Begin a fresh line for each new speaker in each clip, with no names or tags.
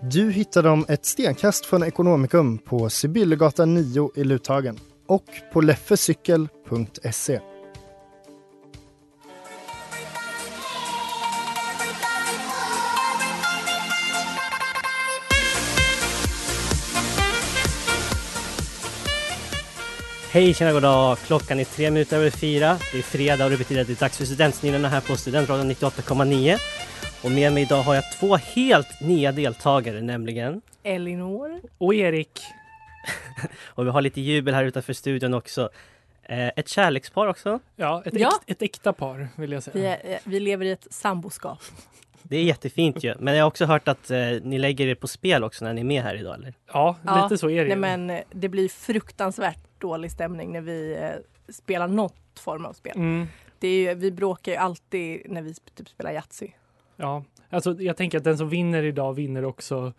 Du hittar dem ett stenkast från Ekonomikum på Sibyllegatan 9 i Luthagen och på leffecykel.se.
Hej, tjena, god dag. Klockan är tre minuter över fyra. Det är fredag och det betyder att det är dags för Studentsnillena här på Studentradion 98,9. Och med mig idag har jag två helt nya deltagare, nämligen...
Elinor.
Och Erik.
Och vi har lite jubel här utanför studion också. Eh, ett kärlekspar också.
Ja, ett,
Ja.
Äkt, ett äkta par vill jag säga.
Vi, är, eh, vi lever i ett samboskap.
Det är jättefint ju. Men jag har också hört att eh, ni lägger er på spel också när ni är med här idag, eller?
Ja,
Ja,
lite så är det
Nej,
ju.
men eh, det blir fruktansvärt dålig stämning när vi eh, spelar något form av spel.
Mm,
Det är ju, vi bråkar ju alltid när vi sp- typ spelar Yatzy.
ja. Alltså, jag tänker att den som vinner idag vinner också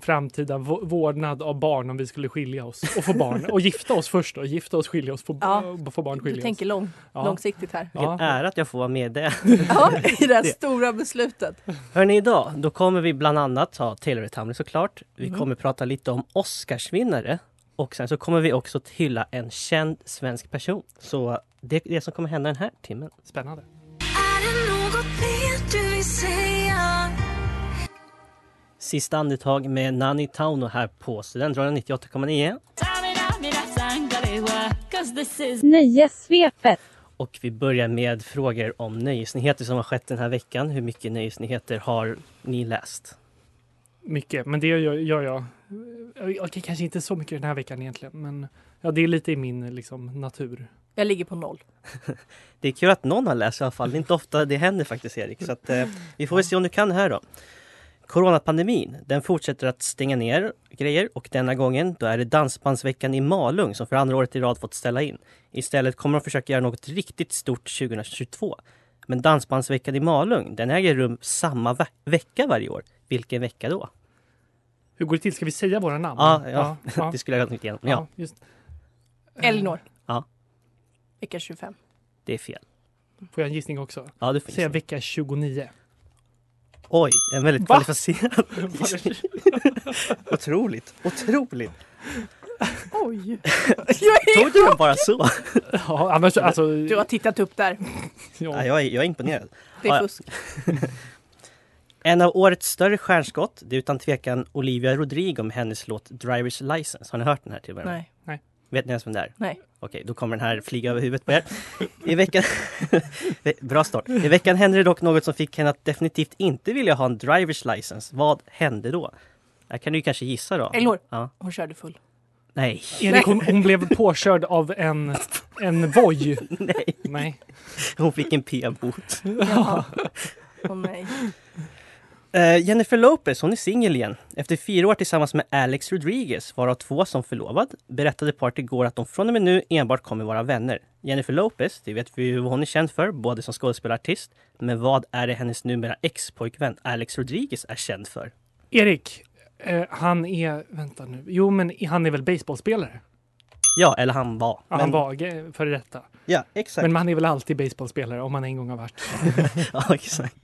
framtida vå- vårdnad av barn om vi skulle skilja oss och få barn och gifta oss först då. Gifta oss, skilja oss, få,
Ja.
få barn,
Du
skilja
tänker
oss.
lång,
Ja.
långsiktigt här.
Ja.
Vilken ära att jag får vara med i det.
Ja, i det här
Det.
stora beslutet.
Hörni, idag då kommer vi bland annat ha Taylor Tamley såklart. Vi kommer prata lite om Oscarsvinnare och sen så kommer vi också att hylla en känd svensk person. Så det är det som kommer hända den här timmen.
Spännande.
Sista andetag med Nanny Tauno här på Studentradion 98,9
Nöjessvepet.
och vi börjar med frågor om nöjesnyheter som har skett den här veckan. Hur mycket nöjesnyheter har ni läst?
Mycket, men det gör, gör jag. Eh, Okej, kanske inte så mycket den här veckan egentligen, men ja, det är lite i min liksom, natur.
Jag ligger på noll.
Det är kul att någon har läst i alla fall. Det är inte ofta det händer faktiskt Erik. Så att, eh, vi får väl se om du kan det här då. Coronapandemin, den fortsätter att stänga ner grejer och denna gången då är det Dansbandsveckan i Malung som för andra året i rad fått ställa in. Istället kommer de försöka göra något riktigt stort 2022. Men Dansbandsveckan i Malung, den äger rum samma ve- vecka varje år. Vilken vecka då?
Hur går det till? Ska vi säga våra namn?
Ja, ja.
ja,
Det skulle jag ha tänkt igenom. Ja,
ja, just.
Elinor.
Ja.
Vecka 25.
det är fel.
Får jag en gissning också?
Ja, du får
Säga
gissa.
vecka 29.
Oj, en väldigt
Va?
kvalificerad gissning. Otroligt, otroligt.
Oj!
Tog du den bara så?
Ja, annars, alltså,
Du har tittat upp där.
Ja,
ja,
jag, är, jag är imponerad.
Det
Ja,
är
ja.
fusk.
En av årets större stjärnskott, det är utan tvekan Olivia Rodrigo med hennes låt Drivers License. Har ni hört den här till och med?
Nej.
Vet ni ens vem det är?
Nej.
Okej, då kommer den här flyga över huvudet på er. I veckan... Bra start. I veckan hände det dock något som fick henne att definitivt inte vilja ha en Drivers License. Vad hände då? Här kan du ju kanske gissa då.
Elinor.
Ja.
Hon körde full.
Nej.
Erik, hon, hon blev påkörd av en, en voj.
Nej,
Nej.
hon fick en p-bot.
Jaha. Åh nej.
Eh, Jennifer Lopez, hon är singel igen. Efter fyra år tillsammans med Alex Rodriguez, varav två som förlovad, berättade paret igår att de från och med nu enbart kommer vara vänner. Jennifer Lopez, det vet vi ju vad hon är känd för, både som skådespelare och artist. Men vad är det hennes numera ex-pojkvän Alex Rodriguez är känd för?
Erik, eh, han är, vänta nu, jo men han är väl baseballspelare?
Ja, eller han var.
Ja,
Men-
han var ge- före detta.
Ja, exakt.
Men han är väl alltid baseballspelare om han en gång har varit.
Ja, exakt.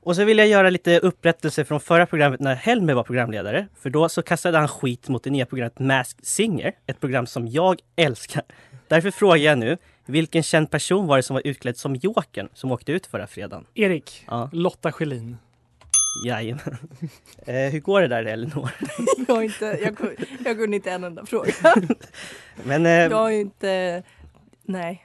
Och så vill jag göra lite upprättelse från förra programmet när Helmer var programledare. För då så kastade han skit mot det nya programmet Masked Singer, ett program som jag älskar. Därför frågar jag nu, vilken känd person var det som var utklädd som Jokern som åkte ut förra fredagen?
Erik,
Ja.
Lotta Schelin.
Jajamän. Eh, hur går det där Elinor?
Jag, har inte, jag, kun- jag kunde inte en enda fråga.
Ehm.
Men eh,
Jag är inte... Nej.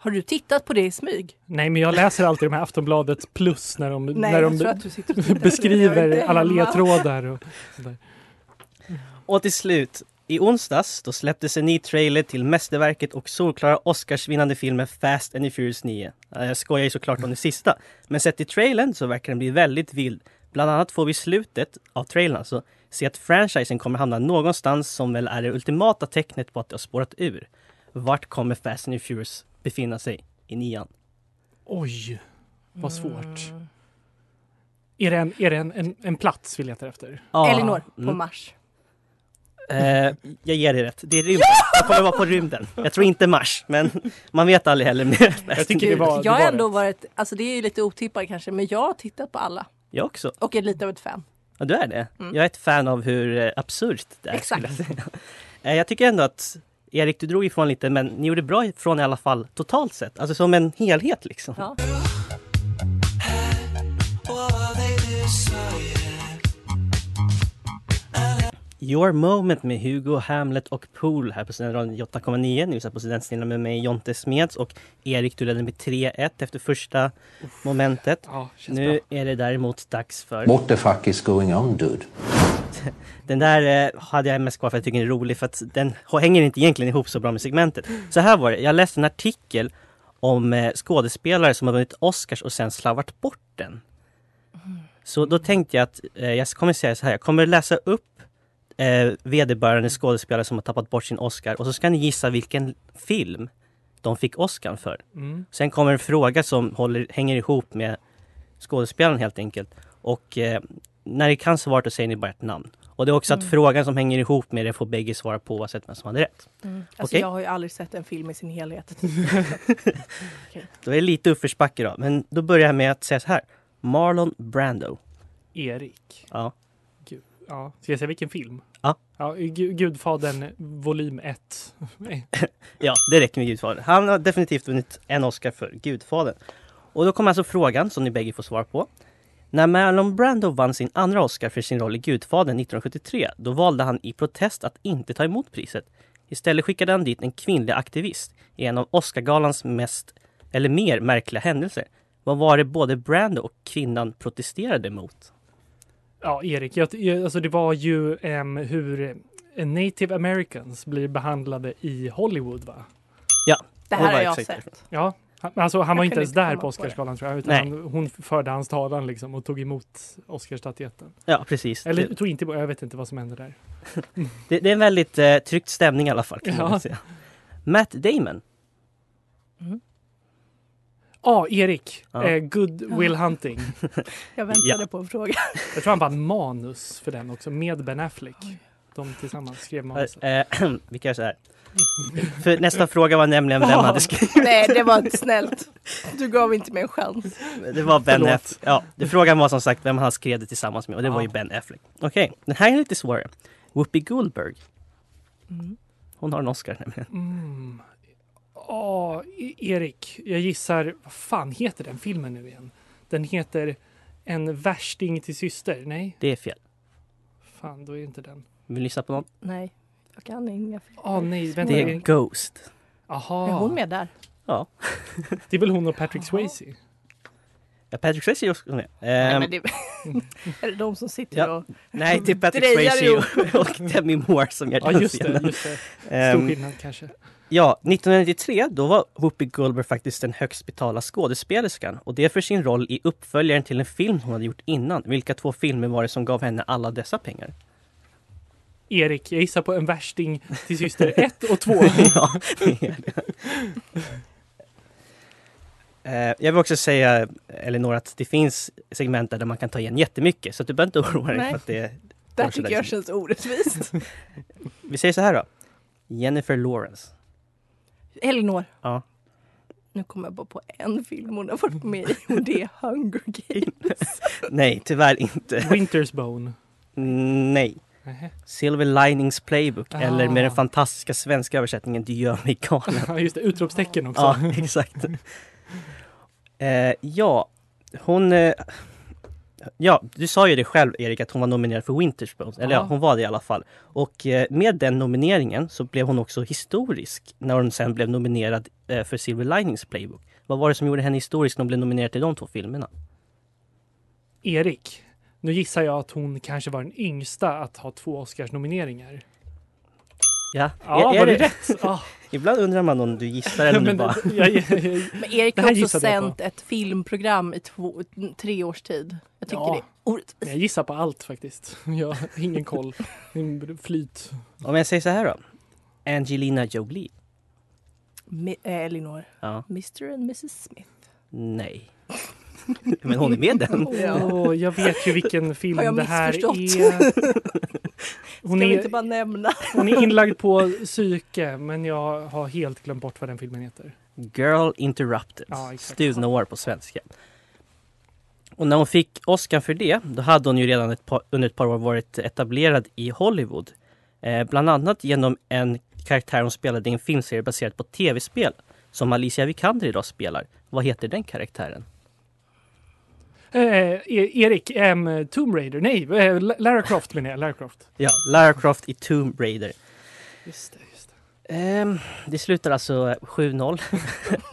Har du tittat på det i smyg?
Nej, men jag läser alltid de här Aftonbladet plus när de,
Nej,
när
jag
de
tror att du sitter och tittar. Jag är
beskriver
inte
alla
hemma.
ledtrådar. Och sådär.
och till slut, i onsdags då släpptes en ny trailer till mästerverket och solklara Oscarsvinnande filmen Fast and the Furious 9. Eh, Jag skojar ju såklart om det sista, men sett i trailern så verkar den bli väldigt vild. Bland annat får vi i slutet av trailern alltså se att franchisen kommer hamna någonstans som väl är det ultimata tecknet på att det har spårat ur. Vart kommer Fast and the Furious befinna sig i nian?
Oj, vad svårt.
Eh.
Är det en, är det en, en, en plats vi letar efter?
Ah,
Elinor, på
mm.
Mars.
Eh, jag ger dig rätt. Det är rymden. Jag kommer vara på rymden. Jag tror inte Mars, men man vet aldrig heller. Med
Jag tycker det var, det
jag har
var
ändå
rätt.
varit, alltså det är ju lite otippat kanske, men jag har tittat på alla
Jag också.
och är lite av ett fan.
Ja, du är det?
Mm.
Jag är ett fan av hur eh, absurt det är.
Exakt.
skulle jag säga. Eh, jag tycker ändå att Erik, du drog ifrån lite, men ni gjorde bra ifrån i alla fall totalt sett. Alltså som en helhet liksom.
Ja.
Your moment med Hugo, Hamlet och Pool här på Studentradion i 8,9. Ni lyssnar på Studentsnillan med mig, Jonte Smeds och Erik, du ledde med 3-1 efter första momentet.
Ja, känns
Nu
bra.
är det däremot dags för...
What the fuck is going on dude?
Den där eh, hade jag mest kvar för att jag tycker den är rolig för att den hänger inte egentligen ihop så bra med segmentet. Så här var det, jag läste en artikel om eh, skådespelare som har vunnit Oscars och sen slarvat bort den. Så då tänkte jag att eh, jag kommer säga så här, jag kommer läsa upp eh, vederbörande skådespelare som har tappat bort sin Oscar och så ska ni gissa vilken film de fick Oscar för.
Mm.
Sen kommer en fråga som håller, hänger ihop med skådespelaren helt enkelt. Och eh, när det kan svaret då säger ni bara ett namn. Och det är också att frågan som hänger ihop med det får bägge svara på oavsett vem som hade rätt.
Alltså
Okej.
jag har ju aldrig sett en film i sin helhet.
Då är det lite uppförsbacke då. Men då börjar jag med att säga så här. Marlon Brando.
Erik.
Ja.
Ja. Ska jag säga vilken film?
Ja.
ja Gu- Gudfadern volym 1. Nej.
Ja, det räcker med Gudfadern. Han har definitivt vunnit en Oscar för Gudfadern. Och då kommer alltså frågan som ni bägge får svar på. När Marlon Brando vann sin andra Oscar för sin roll i Gudfadern 1973, då valde han i protest att inte ta emot priset. Istället skickade han dit en kvinnlig aktivist i en av Oscargalans mest, eller mer, märkliga händelser. Vad var det både Brando och kvinnan protesterade mot?
Ja, Erik, jag, jag, alltså det var ju em, hur eh, native americans blir behandlade i Hollywood, va?
Det
Hon
här har
var
jag
exakt
sett.
Ja, han, alltså han var
Jag
inte
kunde
ens
inte
där
komma
på
på
Oscarsgalan tror jag, utan
Nej.
han, hon förde hans talan liksom och tog emot Oscarsstatyetten.
Ja, precis.
Eller
Det,
tog inte emot, jag vet inte vad som hände där.
det, det är en väldigt eh, tryckt stämning i alla fall. Kan man
Ja.
väl säga. Matt Damon.
Ja, ah, Erik,
Ja.
eh, Good Will Hunting.
Jag väntade på en fråga.
Jag tror han vann manus för den också, med Ben Affleck. De tillsammans skrev manuset.
Eh, vi kan göra så här. För nästa fråga var nämligen vem hade skrivit.
Nej, det var inte snällt. Du gav inte mig en chans.
Det var Ben
Förlåt.
Affleck. Ja, det frågan var som sagt vem han skrev det tillsammans med och det var ju
Ja.
Ben Affleck. Okej, den här är lite svårare. Whoopi Goldberg. Hon har en Oscar nämligen.
Mm. Ja, E- Erik, jag gissar, vad fan heter den filmen nu igen? Den heter En värsting till syster, nej?
Det är fel.
Fan, då är det inte den.
Vill ni lyssna på någon?
Nej, jag kan inga filmer.
Ja, nej, vänta.
Det är
Erik.
Ghost.
Är hon
Aha.
med där?
Ja.
Det är väl hon och Patrick Swayze?
Ja, Patrick Swayze är också med.
Nej,
Ehm,
men det... är det de som sitter
Ja.
och...
nej, till Patrick
Drejar
Swayze och, och Demi Moore som gör
Ja,
den
just det.
scenen.
Just det. Stor
Ehm,
skillnad kanske.
Ja, 1993 då var Whoopi Goldberg faktiskt den högst betalda skådespelerskan och det för sin roll i uppföljaren till en film hon hade gjort innan. Vilka två filmer var det som gav henne alla dessa pengar?
Erik, jag gissar på En värsting till syster 1 och 2.
ja, det är det. Eh, Jag vill också säga, Elinor, att det finns segment där man kan ta igen jättemycket så att du behöver inte oroa dig.
Nej.
För att det,
Det här
Kanske
tycker
det
jag
som-
känns orättvist.
vi säger så här då. Jennifer Lawrence.
Elinor.
Ja.
Nu kommer jag bara på en film hon har varit med i och det är Hunger Games.
Nej, tyvärr inte.
Winter's Bone.
Nej.
Nähä.
Silver Linings Playbook
Ah.
eller med den fantastiska svenska översättningen Du gör mig galen.
Ja, Just det, utropstecken också.
ja, exakt. Eh, ja, hon... Eh, Ja, du sa ju det själv Erik att hon var nominerad för Winterspoons. Eller ja,
Ja.
hon var det i alla fall. Och eh, med den nomineringen så blev hon också historisk när hon sen blev nominerad eh, för Silver Linings Playbook. Vad var det som gjorde henne historisk när hon blev nominerad till de två filmerna?
Erik, nu gissar jag att hon kanske var den yngsta att ha två Oscars-nomineringar.
Ja,
Ja,
är- är
var det
det-
rätt? Ah,
Ibland undrar man om du gissar eller om du
men,
bara...
jag, jag, jag,
Men Erik
Det
har också
här gissade jag på.
sänt ett filmprogram i två, tre års tid. Jag tycker
Ja.
det är orättvist.
jag gissar på allt faktiskt. Jag har ingen koll. Flyt.
Om jag säger så här då. Angelina Jolie.
Mi- eh, Elinor,
Ja,
Mr and Mrs Smith.
nej. Men hon är med den.
Åh, jag vet ju vilken film
Har jag
det här är.
missförstått?
Hon
Ska vi
är,
inte bara nämna?
hon är inlagd på psyke, men jag har helt glömt bort vad den filmen heter.
Girl Interrupted.
Ja, exakt.
Stulna år på svenska. Och när hon fick Oscar för det, då hade hon ju redan ett par, under ett par år varit etablerad i Hollywood. Eh, bland annat genom en karaktär hon spelade i en filmserie baserad på tv-spel som Alicia Vikander idag spelar. Vad heter den karaktären?
Eh, E- Erik, ehm, Tomb Raider, nej, eh, La- Lara Croft menar jag. Lara Croft.
Ja, Lara Croft i Tomb Raider.
Just det, just det.
Ehm, det slutar alltså 7-0.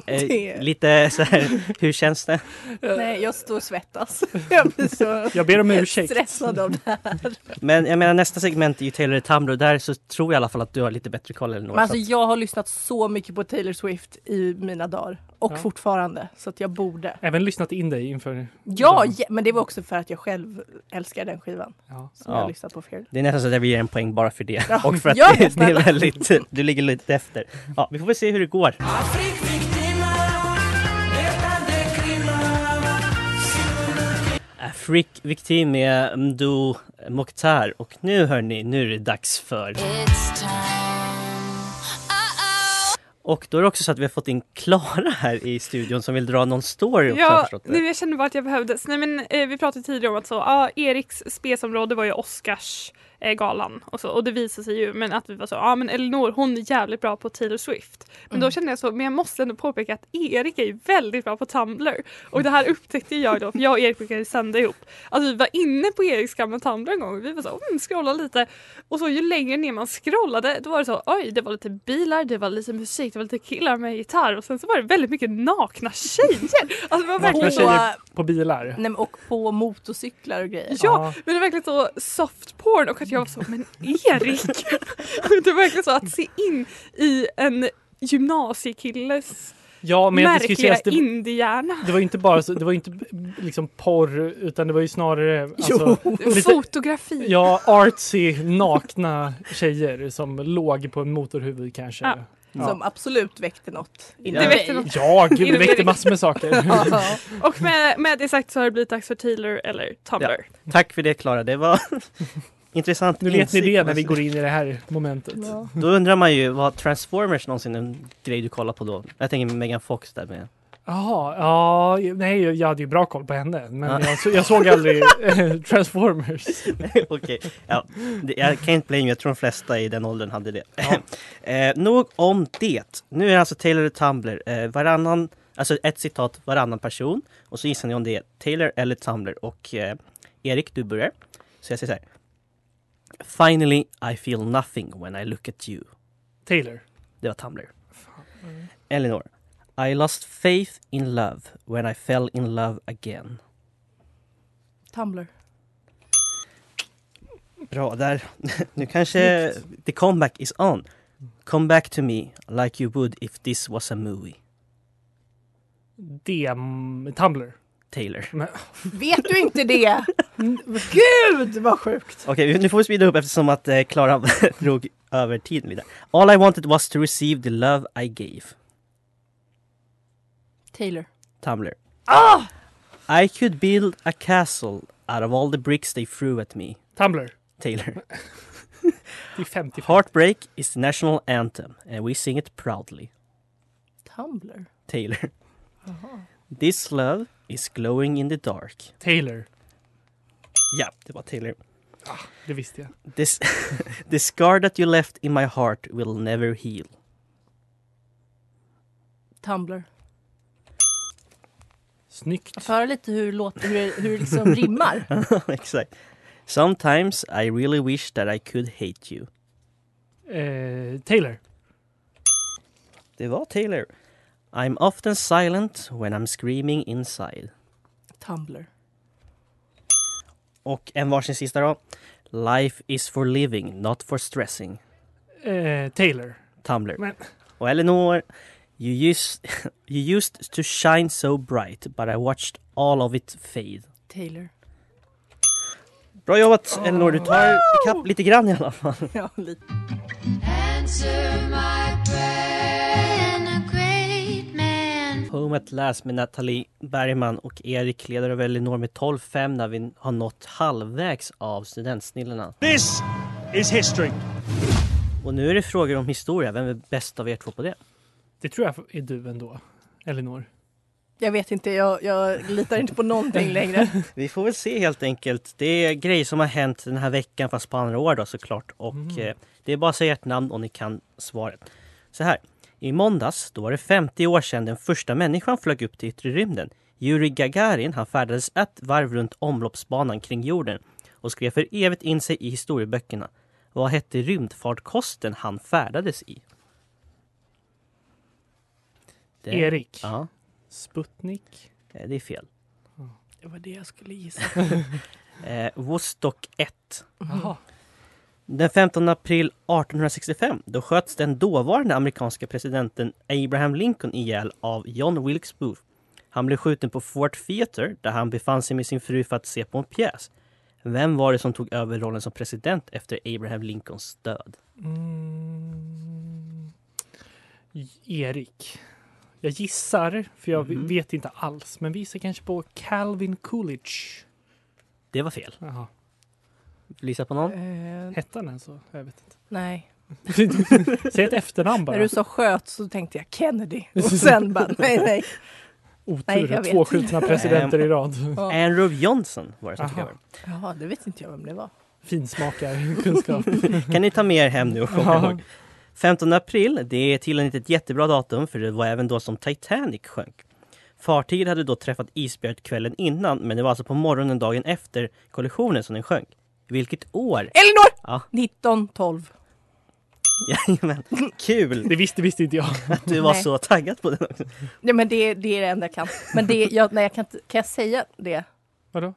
Det-
eh, lite så här, hur känns det?
Nej, jag står och svettas. Jag blir så
Jag ber om ursäkt.
stressad av det här.
Men jag menar nästa segment är ju Taylor Tamro. Där så tror jag i alla fall att du har lite bättre koll än
Men
några.
alltså, jag har lyssnat så mycket på Taylor Swift i mina dagar. Och
Ja.
fortfarande. Så att jag borde.
Även lyssnat in dig inför...
Ja,
Ja.
ja, men det var också för att jag själv älskar den skivan.
Ja.
Som jag
Ja.
har lyssnat på flera
Det är nästan så att jag vill ge en poäng bara för det. Och för att
gör det,
det, det är
snälla.
väldigt, du ligger lite efter. Ja, vi får väl se hur det går. Afrik Victim med Mdo Mokhtar och nu hörni, nu är det dags för... Och då är det också så att vi har fått in Klara här i studion som vill dra någon story också. har jag
Ja,
förstått det.
nu, jag kände bara att jag behövdes. Nej, men, eh, vi pratade tidigare om att så, ah, Eriks spesområde var ju Oscarsgalan eh, galan och, så, och det visade sig ju men att vi var så, ja ah, men Elinor hon är jävligt bra på Taylor Swift. Men
Mm.
då kände jag så, men jag måste ändå påpeka att Erik är ju väldigt bra på Tumblr. Och det här upptäckte jag då, för jag och Erik brukade ju sända ihop. Alltså vi var inne på Eriks gamla Tumblr en gång, vi var så, mm, scrolla lite. Och så ju längre ner man scrollade då var det så, oj det var lite bilar, det var lite musik, det var lite killar med gitarr och sen så var det väldigt mycket nakna tjejer. Alltså det var verkligen så,
tjejer.
på,
På
Mm.
bilar.
nej, men och på motorcyklar och grejer.
ja men det var verkligen så soft porn och att jag var så, men Erik! det var verkligen så att se in i en gymnasiekilles
Ja, men jag skulle säga
märkliga
att det,
indiehjärna.
det var ju inte bara så, det var ju inte b- liksom porr, utan det var ju snarare... Alltså, lite,
Fotografi.
ja, artsy, nakna tjejer som låg på en motorhuvud kanske.
Ja.
Som absolut väckte något inom
Det
mig.
väckte något.
Ja, gud, det
Inom
väckte
Erik.
massor med saker.
Ja.
Och med, med det sagt så har det blivit dags för Taylor eller Tumblr.
Tack för det Klara, det var intressant
Nu vet ni
insikt.
det när vi går in i det här momentet.
Då undrar man ju, var Transformers någonsin en grej du kollar på då? Jag tänker Megan Fox där med.
Jaha, ja, nej, jag hade ju bra koll på henne, men
Ja.
jag, så- jag såg aldrig eh, Transformers.
Okej, ja. Det- Jag kan inte blame you. jag tror de flesta i den åldern hade det. eh, nog om det. Nu är alltså Taylor och Tumblr eh, varannan, alltså ett citat varannan person. Och så gissar ni om det är Taylor eller Tumblr. Och eh, Erik, du börjar. Så jag säger så här. Finally I feel nothing when I look at you.
Taylor.
Det var Tumblr. Elinor. I lost faith in love when I fell in love again.
Tumblr.
Bra där. Nu kanske the comeback is on. Come back to me like you would if this was a movie.
DM Tumblr.
Taylor.
Vet du inte det? Gud vad sjukt!
Okej, nu får vi speeda upp eftersom att eh, Klara drog över tiden lite. All I wanted was to receive the love I gave.
Taylor.
Tumblr. Ah! I could build a castle out of all the bricks they threw at me.
Tumblr.
Taylor.
Det är 50
Heartbreak is the national anthem and we sing it proudly.
Tumblr.
Taylor. This love is glowing in the dark.
Taylor.
Ja, det var Taylor.
Det visste jag.
This, the scar that you left in my heart will never heal.
Tumblr.
Snyggt.
Få höra lite hur, låt, hur, det- hur det liksom rimmar.
Exakt. Sometimes I really wish that I could hate you.
Eh, Taylor.
Det var Taylor. I'm often silent when I'm screaming inside.
Tumblr.
Och en varsin sista då. Life is for living, not for stressing.
Eh, Taylor.
Tumblr.
Men-
Och Eleanor. You used, you used to shine so bright but I watched all of it fade.
Taylor.
Bra jobbat Eleanor, du tar ikapp lite grann i alla fall.
Ja, lite.
Home at last med Nathalie Bergman och Erik leder över Elinor med 12-5 när vi har nått halvvägs av Studentsnillena.
This is history.
Och nu är det frågor om historia. Vem är bäst av er två på det?
Det tror jag är du ändå. Elinor.
Jag vet inte, jag, jag litar inte på någonting längre.
Vi får väl se helt enkelt. Det är grejer som har hänt den här veckan fast på andra år då såklart. Och
Mm.
eh, det är bara att säga ert namn och ni kan svaret. Så här. I måndags, då var det 50 år sedan den första människan flög upp till yttre rymden. Yuri Gagarin, han färdades ett varv runt omloppsbanan kring jorden och skrev för evigt in sig i historieböckerna. Vad hette rymdfartkosten han färdades i? Det-
Erik.
Ja,
Sputnik.
eh, det är fel.
Det var det jag skulle gissa.
Eh, Vostok 1
Jaha.
Den 15 april 1865 då sköts den dåvarande amerikanska presidenten Abraham Lincoln ihjäl av John Wilkes Booth. Han blev skjuten på Fort Theater där han befann sig med sin fru för att se på en pjäs. Vem var det som tog över rollen som president efter Abraham Lincolns död?
Mm. Erik. Jag gissar, för jag
Mhm.
vet inte alls, men vi gissar kanske på Calvin Coolidge.
Det var fel.
Jaha.
Lisa på någon?
Eh,
Hette han alltså? Jag vet inte.
nej.
Säg ett efternamn bara.
När du sa sköt så tänkte jag Kennedy. Och sen bara nej, nej. Nej,
Otur,
jag
att
vet.
två skjutna presidenter i rad.
Andrew Johnson var det som tog
Aha.
över.
Jaha, det vet inte jag vem det var.
Finsmakar kunskap.
Kan ni ta med er hem nu och komma
Ja.
ihåg? 15 april, det är tydligen inte ett jättebra datum för det var även då som Titanic sjönk. Fartyget hade då träffat isbjörnet kvällen innan men det var alltså på morgonen dagen efter kollisionen som den sjönk. Vilket år?
Elinor!
Ja.
1912.
Jajamän, kul
Det visste, visste inte jag.
att du var
Nej.
så taggad på den.
Nej, men det, det är det enda jag kan. Men det, jag, nej, jag kan, inte- kan jag säga det?
Vadå?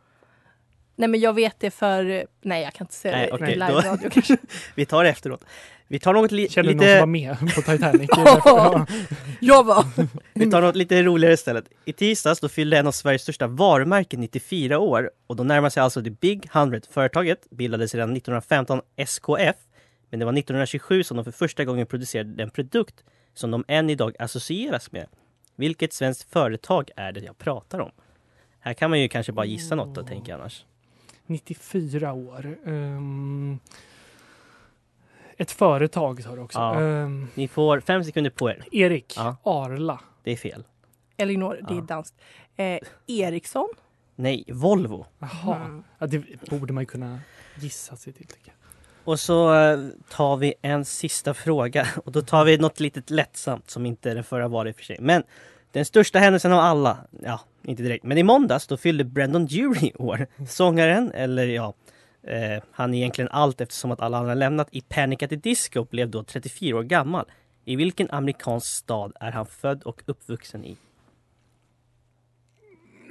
Nej, men jag vet det för... Nej, jag kan inte säga
Nej,
det
okej,
i
då-
live-radio kanske.
Vi tar det efteråt. Vi tar något, li-
Känner någon som var
lite,
med på Titanic?
Ja. Jag var...
vi tar något lite roligare istället. I tisdags då fyllde en av Sveriges största varumärken 94 år och då närmar sig alltså The Big 100. Företaget bildades redan 1915 SKF Men det var 1927 som de för första gången producerade den produkt som de än idag associeras med. Vilket svenskt företag är det jag pratar om? Här kan man ju kanske bara gissa något då, tänker jag annars.
94 år. Ehm, ett företag sa du också.
Ja.
Ehm,
Ni får fem sekunder på er.
Erik
Ja.
Arla.
Det är fel.
Elinor, det
Ja.
är danskt. Eh, Eriksson.
Nej, Volvo.
Jaha.
Mm.
Ja, det borde man ju kunna gissa sig till. tycker jag.
Och så eh, tar vi en sista fråga och då tar vi något litet lättsamt som inte den förra var i och för sig. Men den största händelsen av alla, ja, inte direkt, men i måndags då fyllde Brandon Dury år. Sångaren, eller ja, eh, han är egentligen allt eftersom att alla andra lämnat, i Panic at the Disco blev då 34 år gammal. I vilken amerikansk stad är han född och uppvuxen i?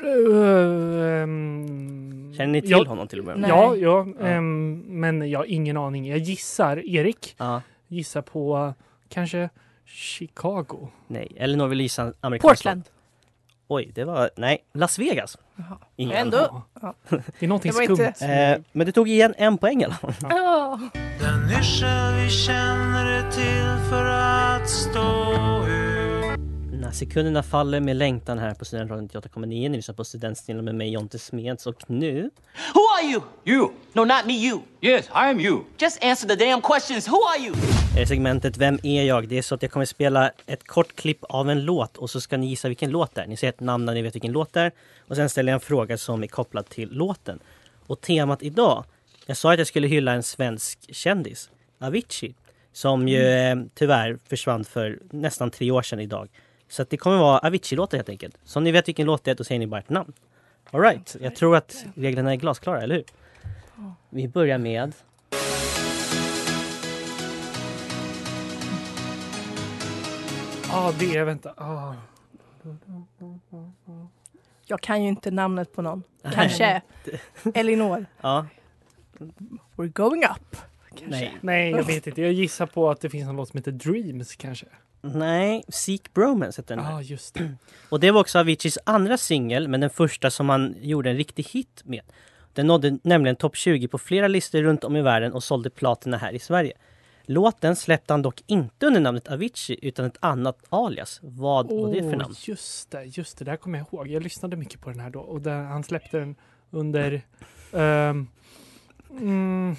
Ehm,
Känner ni till
jag,
honom till och med?
Nej.
Ja, ja ehm, men jag har ingen aning. Jag gissar, Erik
Ja,
gissar på eh, kanske Chicago.
nej. Elinor vill gissa en amerikansk stad.
Portland.
Oj, det var, nej, Las Vegas.
Jaha.
Ingen
Mhm.
aning.
Ändå... Ja.
Det är någonting
Det var
skumt.
inte-
Eh, men du tog igen en poäng i alla fall.
Ah.
Den nischa vi känner är till för att stå ut.
När sekunderna faller med längtan här på Studentradion 98,9. Ni lyssnar på Studentstilen med mig Jonte Smeds och nu...
Who are you? You. No, not me, you. Yes, I am you. Just answer the damn questions. Who are you?
är Eh, segmentet Vem är jag? Det är så att jag kommer spela ett kort klipp av en låt och så ska ni gissa vilken låt det är. Ni säger ett namn när ni vet vilken låt det är. Och sen ställer jag en fråga som är kopplad till låten. Och temat idag, jag sa att jag skulle hylla en svensk kändis, Avicii. Som ju eh, tyvärr försvann för nästan tre år sedan idag. Så att det kommer vara Avicii-låtar helt enkelt. Så om ni vet vilken låt det är, då säger ni bara ett namn. Alright, jag tror att reglerna är glasklara, eller hur? Vi börjar med...
Ja, det är... Vänta. Ah.
Jag kan ju inte namnet på någon.
Nej.
Kanske Elinor.
Ja,
We're going up. Kanske.
nej.
Nej, jag vet inte. Jag gissar på att det finns en låt som heter Dreams kanske.
Nej, Seek Bromance heter den
Ja,
här.
ah, just det.
Och det var också Aviciis andra singel, men den första som han gjorde en riktig hit med. Den nådde nämligen topp 20 på flera listor runt om i världen och sålde platina här i Sverige. Låten släppte han dock inte under namnet Avicii utan ett annat alias. Vad var det för
Åh,
namn?
just det, just det. Där kommer jag ihåg. Jag lyssnade mycket på den här då och där, han släppte den under... ehm, mm,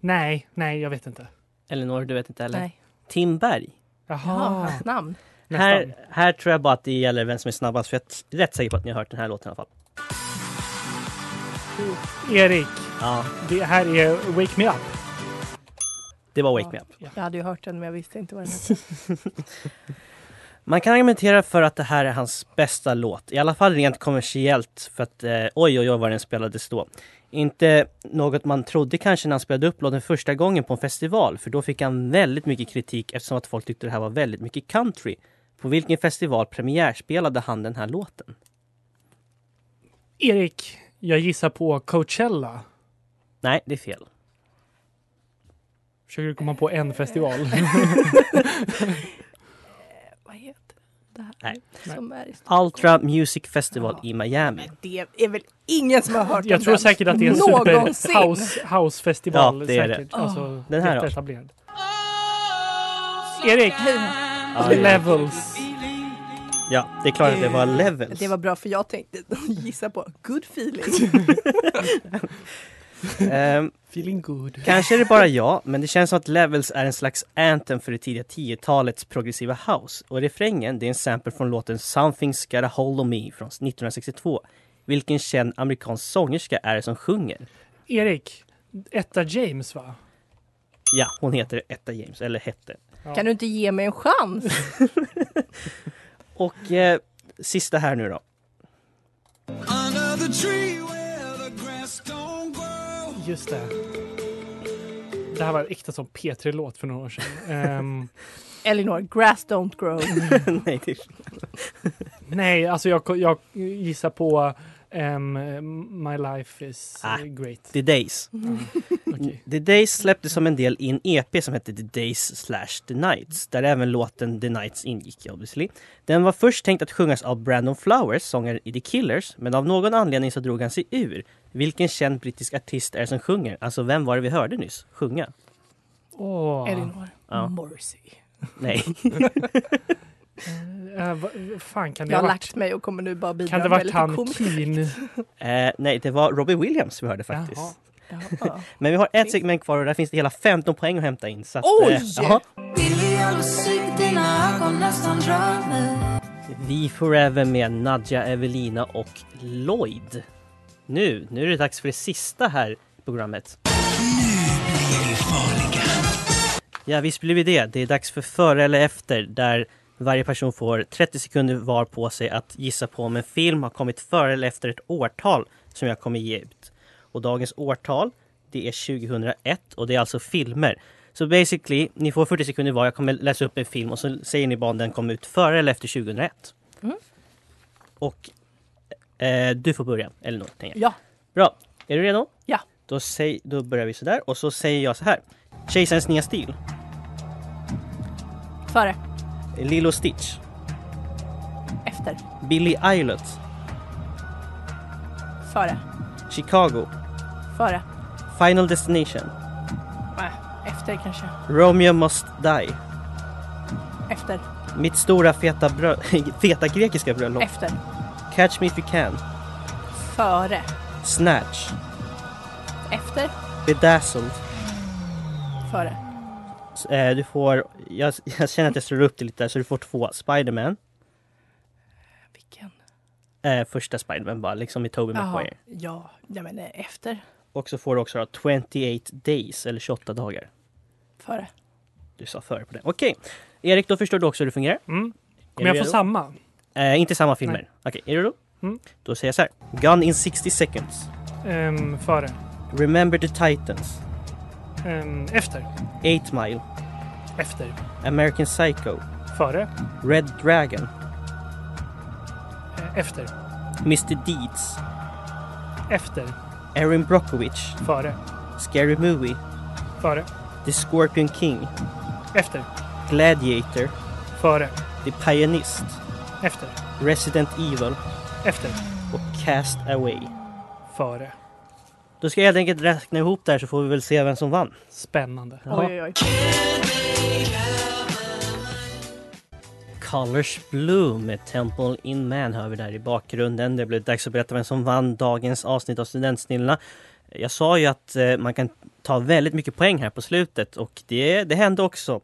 nej, nej, jag vet inte.
Elinor, du vet inte heller?
Nej.
Tim Berg.
Jaha,
Jaha,
Ah.
hans namn.
nästan.
Här, här tror jag bara att det gäller vem som är snabbast, för jag är rätt säker på att ni har hört den här låten i alla fall.
Erik,
Ja,
det här är Wake Me Up.
det var Wake Me Up.
Jag hade ju hört den men jag visste inte vad den hette.
Man kan argumentera för att det här är hans bästa låt, i alla fall rent kommersiellt för att eh, oj oj oj vad den spelades då. Inte något man trodde kanske när han spelade upp låten första gången på en festival för då fick han väldigt mycket kritik eftersom att folk tyckte det här var väldigt mycket country. På vilken festival premiärspelade han den här låten?
Erik, jag gissar på Coachella.
Nej, det är fel.
Försöker du komma på en festival?
Eh, vad heter det här?
Nej.
Som är i
Ultra Music Festival i Miami.
Det är väl ingen som har hört
jag
den
tror
ens.
säkert att det är en
Någonsin.
super house, housefestival.
Ja, det är det.
säkert. Alltså,
Den här då?
jätteetablerad. Erik! Levels.
Ja, det är klart att det var Levels.
Eh, Det var bra för jag tänkte gissa på good feeling.
Ehm,
Feeling good.
Kanske är det bara jag, men det känns som att Levels är en slags anthem för det tidiga 10-talets progressiva house. Och refrängen, det är en sample från låten Something's Got a Hold of Me från 1962. Vilken känd amerikansk sångerska är det som sjunger?
Erik, Etta James va?
Ja, hon heter Etta James, eller hette.
Kan du inte ge mig en chans?
Och eh, sista här nu då.
Just det. Det här var en äkta som P3-låt för några år sedan. Ehm,
Elinor, grass don't grow.
Nej, det är...
nej, alltså jag, jag gissar på ehm, My Life is
Ah. Mm.
great.
The Days.
Okej.
The Days släpptes som en del i en EP som hette The Days slash The Nights, där även låten The Nights ingick obviously. Den var först tänkt att sjungas av Brandon Flowers, sångare i The Killers, men av någon anledning så drog han sig ur. Vilken känd brittisk artist är det som sjunger? Alltså, vem var det vi hörde nyss sjunga?
Åh.
Elinor,
Ja.
Mm.
Morrissey.
Nej,
Eh, vad fan kan det
Jag
ha
har
varit?
lagt mig och kommer nu bara bidra
Kan det
med
varit
lite
han
komiskt.
Keen?
eh, nej det var Robbie Williams vi hörde faktiskt.
Jaha.
Jaha.
Men vi har ett segment kvar och där finns det hela 15 poäng att hämta in. Så att, eh,
Oj!
jaha.
Dina ögon nästan rör mig
Vi Forever med Nadja, Evelina och Lloyd. Nu, nu är det dags för det sista här i programmet. Ja, visst blir vi det. Det är dags för före eller efter där varje person får 30 sekunder var på sig att gissa på om en film har kommit före eller efter ett årtal som jag kommer ge ut. Och dagens årtal, det är 2001 och det är alltså filmer. Så basically, ni får 40 sekunder var. Jag kommer läsa upp en film och så säger ni bara om den kom ut före eller efter 2001.
Mm.
Och eh, du får börja, eller något, tänker jag.
Ja,
Bra, är du redo?
Ja.
Då, säg, då börjar vi sådär och så säger jag så här. Kejsarens nya stil,
före,
Lilo Stitch,
efter,
Billy Eilert,
före,
Chicago,
före,
Final Destination,
äh, efter kanske,
Romeo Must Die,
efter,
Mitt stora feta, brö- feta grekiska bröllop,
efter,
Catch Me If You Can,
före,
Snatch,
efter,
Bedazzled,
före,
Eh, du får, jag, jag känner att jag slår upp det lite där, så du får två. Spiderman,
vilken?
eh, första Spiderman bara, liksom i Tobey
Jaha,
Maguire.
ja, ja men eh, efter,
Och så får du också då 28 days, eller 28 dagar.
före.
Du sa före på det. Okej, Erik, då förstår du också hur det fungerar.
Mm. Kommer
Är
jag
du
få
redo?
samma?
Eh, inte samma filmer.
Nej.
Okej, är du redo?
Mm.
Då säger jag så här. Gun in 60 seconds.
Ehm, före.
Remember the Titans.
Ehm, efter.
8 Mile.
Efter.
American Psycho.
Före.
Red Dragon.
Eh, Efter.
Mr Deeds.
Efter.
Erin Brockovich.
Före.
Scary Movie.
Före.
The Scorpion King.
Efter.
Gladiator.
Före.
The Pianist.
Efter.
Resident Evil.
Efter.
Och Cast Away.
Före.
Då ska jag helt enkelt räkna ihop det här så får vi väl se vem som vann.
Spännande.
Ja.
Oj, oj, oj.
Colors Blue med Temple in Man hör vi där i bakgrunden. Det blev dags att berätta vem som vann dagens avsnitt av Studentsnillena. Jag sa ju att eh, man kan ta väldigt mycket poäng här på slutet och det, det hände också.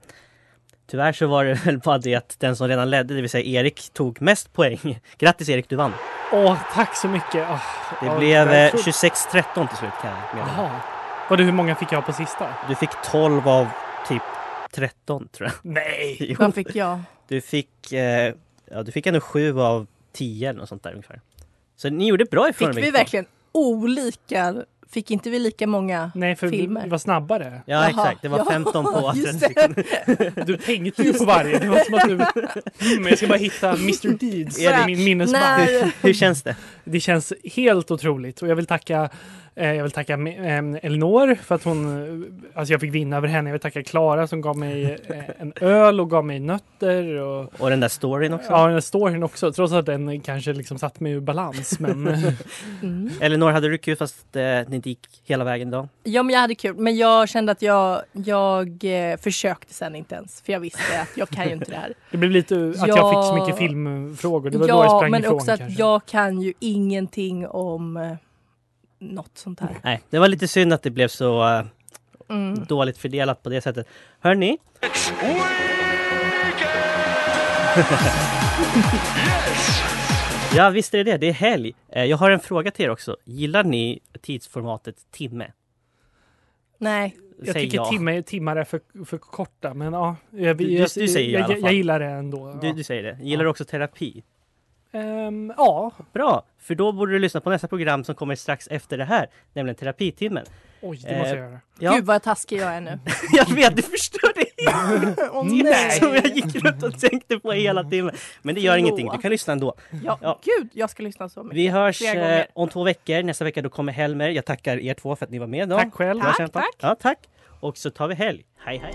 Tyvärr så var det väl bara det att den som redan ledde, det vill säga Erik, tog mest poäng. Grattis Erik, du vann!
Åh, tack så mycket. Åh,
Det
ja,
blev eh,
jag tror-
26-13 till slut kan jag meddela.
Jaha. Var det hur många fick jag på sista?
Du fick 12 av typ 13 tror jag.
Nej!
Jo.
Vad fick jag?
Du fick, eh, ja, du fick ändå sju av tio eller något sånt där ungefär. Så ni gjorde bra ifrån
Fick
er
vi
båda.
verkligen olika? Fick inte vi lika många
Nej, för
filmer?
vi var snabbare.
Ja
Jaha.
exakt, det var
Ja,
15 på
just
30 sekunder.
Du tänkte ju på varje. Det var som att du... Mm, jag ska bara hitta Mr Deeds i
Erik,
min minnesbank.
När,
Hur känns det?
Det känns helt otroligt och jag vill tacka eh, jag vill tacka eh, Elinor för att hon, eh, alltså jag fick vinna över henne. Jag vill tacka Klara som gav mig eh, en öl och gav mig nötter. Och,
Och den där storyn också.
ja, den här storyn också, trots att den kanske liksom satt mig ur balans. Men
mm.
Elinor, hade du kul fast eh, ni inte gick hela vägen idag?
Ja, men jag hade kul. Men jag kände att jag, jag eh, försökte sen inte ens. För jag visste att jag kan ju inte det här.
det blev lite att jag fick så
Ja.
mycket filmfrågor. Det var då jag
ja,
sprang
men
ifrån
också att
kanske.
jag kan ju ingenting om eh, något sånt här.
Nej, det var lite synd att det blev så eh,
Mm.
dåligt fördelat på det sättet. Hörni, ja visst är det det, det är helg. Eh, jag har en fråga till er också. Gillar ni tidsformatet timme?
Nej.
Jag
Säg
tycker
ja.
timmar, timmar är för, för korta, men ja. Jag,
Du- du-
jag,
du säger i
jag,
alla
jag,
fall.
gillar det ändå.
Du, du säger det. Gillar du också terapi?
ja. Ehm, ja.
Bra! För då borde du lyssna på nästa program som kommer strax efter det här, nämligen terapitimmen.
Oj, det måste jag
Eh,
göra.
Ja,
Gud vad taskig jag är nu.
jag vet, du förstörde helt!
Åh,
Det
nej.
som jag gick runt och tänkte på hela timmen. Men det gör
Förlåt.
ingenting, du kan lyssna ändå.
Ja,
Ja.
Gud, jag ska lyssna så mycket.
Vi hörs
Flera
eh,
gånger.
om två veckor. Nästa vecka då kommer Helmer. Jag tackar er två för att ni var med idag.
Tack själv.
Bra kämpat. Ja, tack! Och så tar vi helg. Hej, hej!